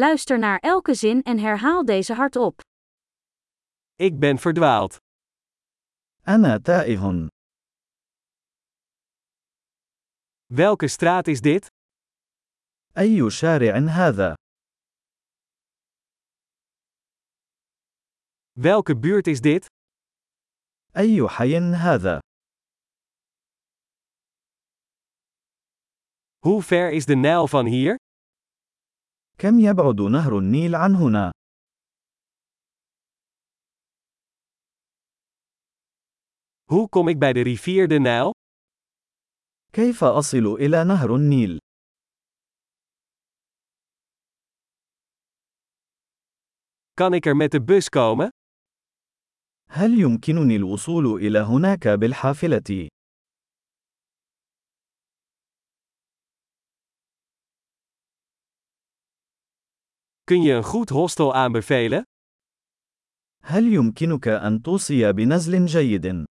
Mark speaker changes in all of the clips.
Speaker 1: Luister naar elke zin en herhaal deze hardop.
Speaker 2: Ik ben verdwaald.
Speaker 3: أنا تائه.
Speaker 2: Welke straat is dit?
Speaker 3: أي شارع هذا؟
Speaker 2: Welke buurt is dit?
Speaker 3: أي حي هذا؟
Speaker 2: Hoe ver is de Nijl van hier?
Speaker 3: كم يبعد نهر النيل عن هنا؟
Speaker 2: Hoe kom ik bij de rivier de Nijl?
Speaker 3: كيف أصل إلى نهر النيل؟
Speaker 2: Kan ik er met de bus komen?
Speaker 3: هل يمكنني الوصول إلى هناك بالحافلة؟
Speaker 2: Kun je een goed hostel aanbevelen?
Speaker 3: هل يمكنك أن توصي بنزل جيد؟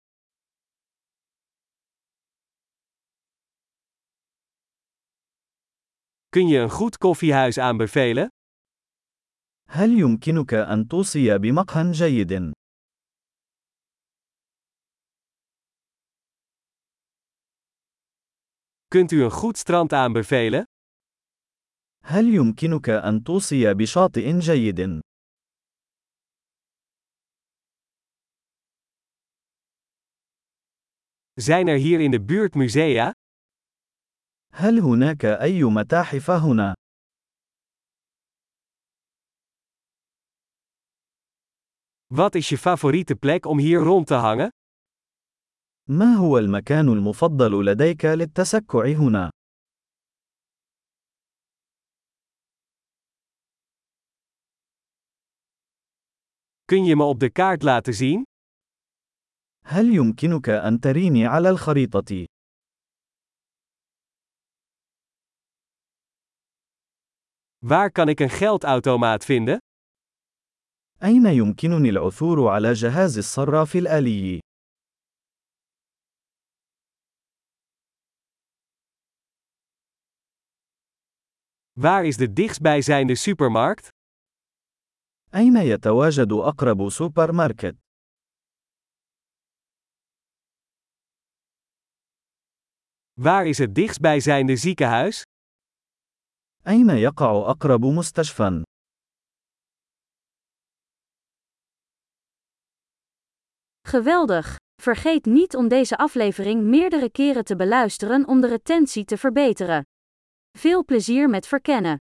Speaker 2: Kun je een goed koffiehuis aanbevelen?
Speaker 3: هل يمكنك أن توصي بمقهى جيد؟
Speaker 2: Kunt u een goed strand aanbevelen?
Speaker 3: هل يمكنك أن توصي بشاطئ جيد؟
Speaker 2: Zijn er hier in de buurt musea?
Speaker 3: هل هناك أي متاحف هنا؟
Speaker 2: Wat is je favoriete plek om hier rond te hangen?
Speaker 3: ما هو المكان المفضل لديك للتسكع هنا؟
Speaker 2: Kun je me op de kaart laten zien?
Speaker 3: هل يمكنك أن تريني على الخريطة؟
Speaker 2: Waar kan ik een geldautomaat vinden?
Speaker 3: أين يمكنني العثور على جهاز الصراف الآلي؟
Speaker 2: Waar is de dichtstbijzijnde supermarkt?
Speaker 3: أين يتواجد أقرب سوبر ماركت؟
Speaker 2: Waar is het dichtstbijzijnde ziekenhuis?
Speaker 3: أين يقع أقرب مستشفى؟
Speaker 1: Geweldig! Vergeet niet om deze aflevering meerdere keren te beluisteren om de retentie te verbeteren. Veel plezier met verkennen!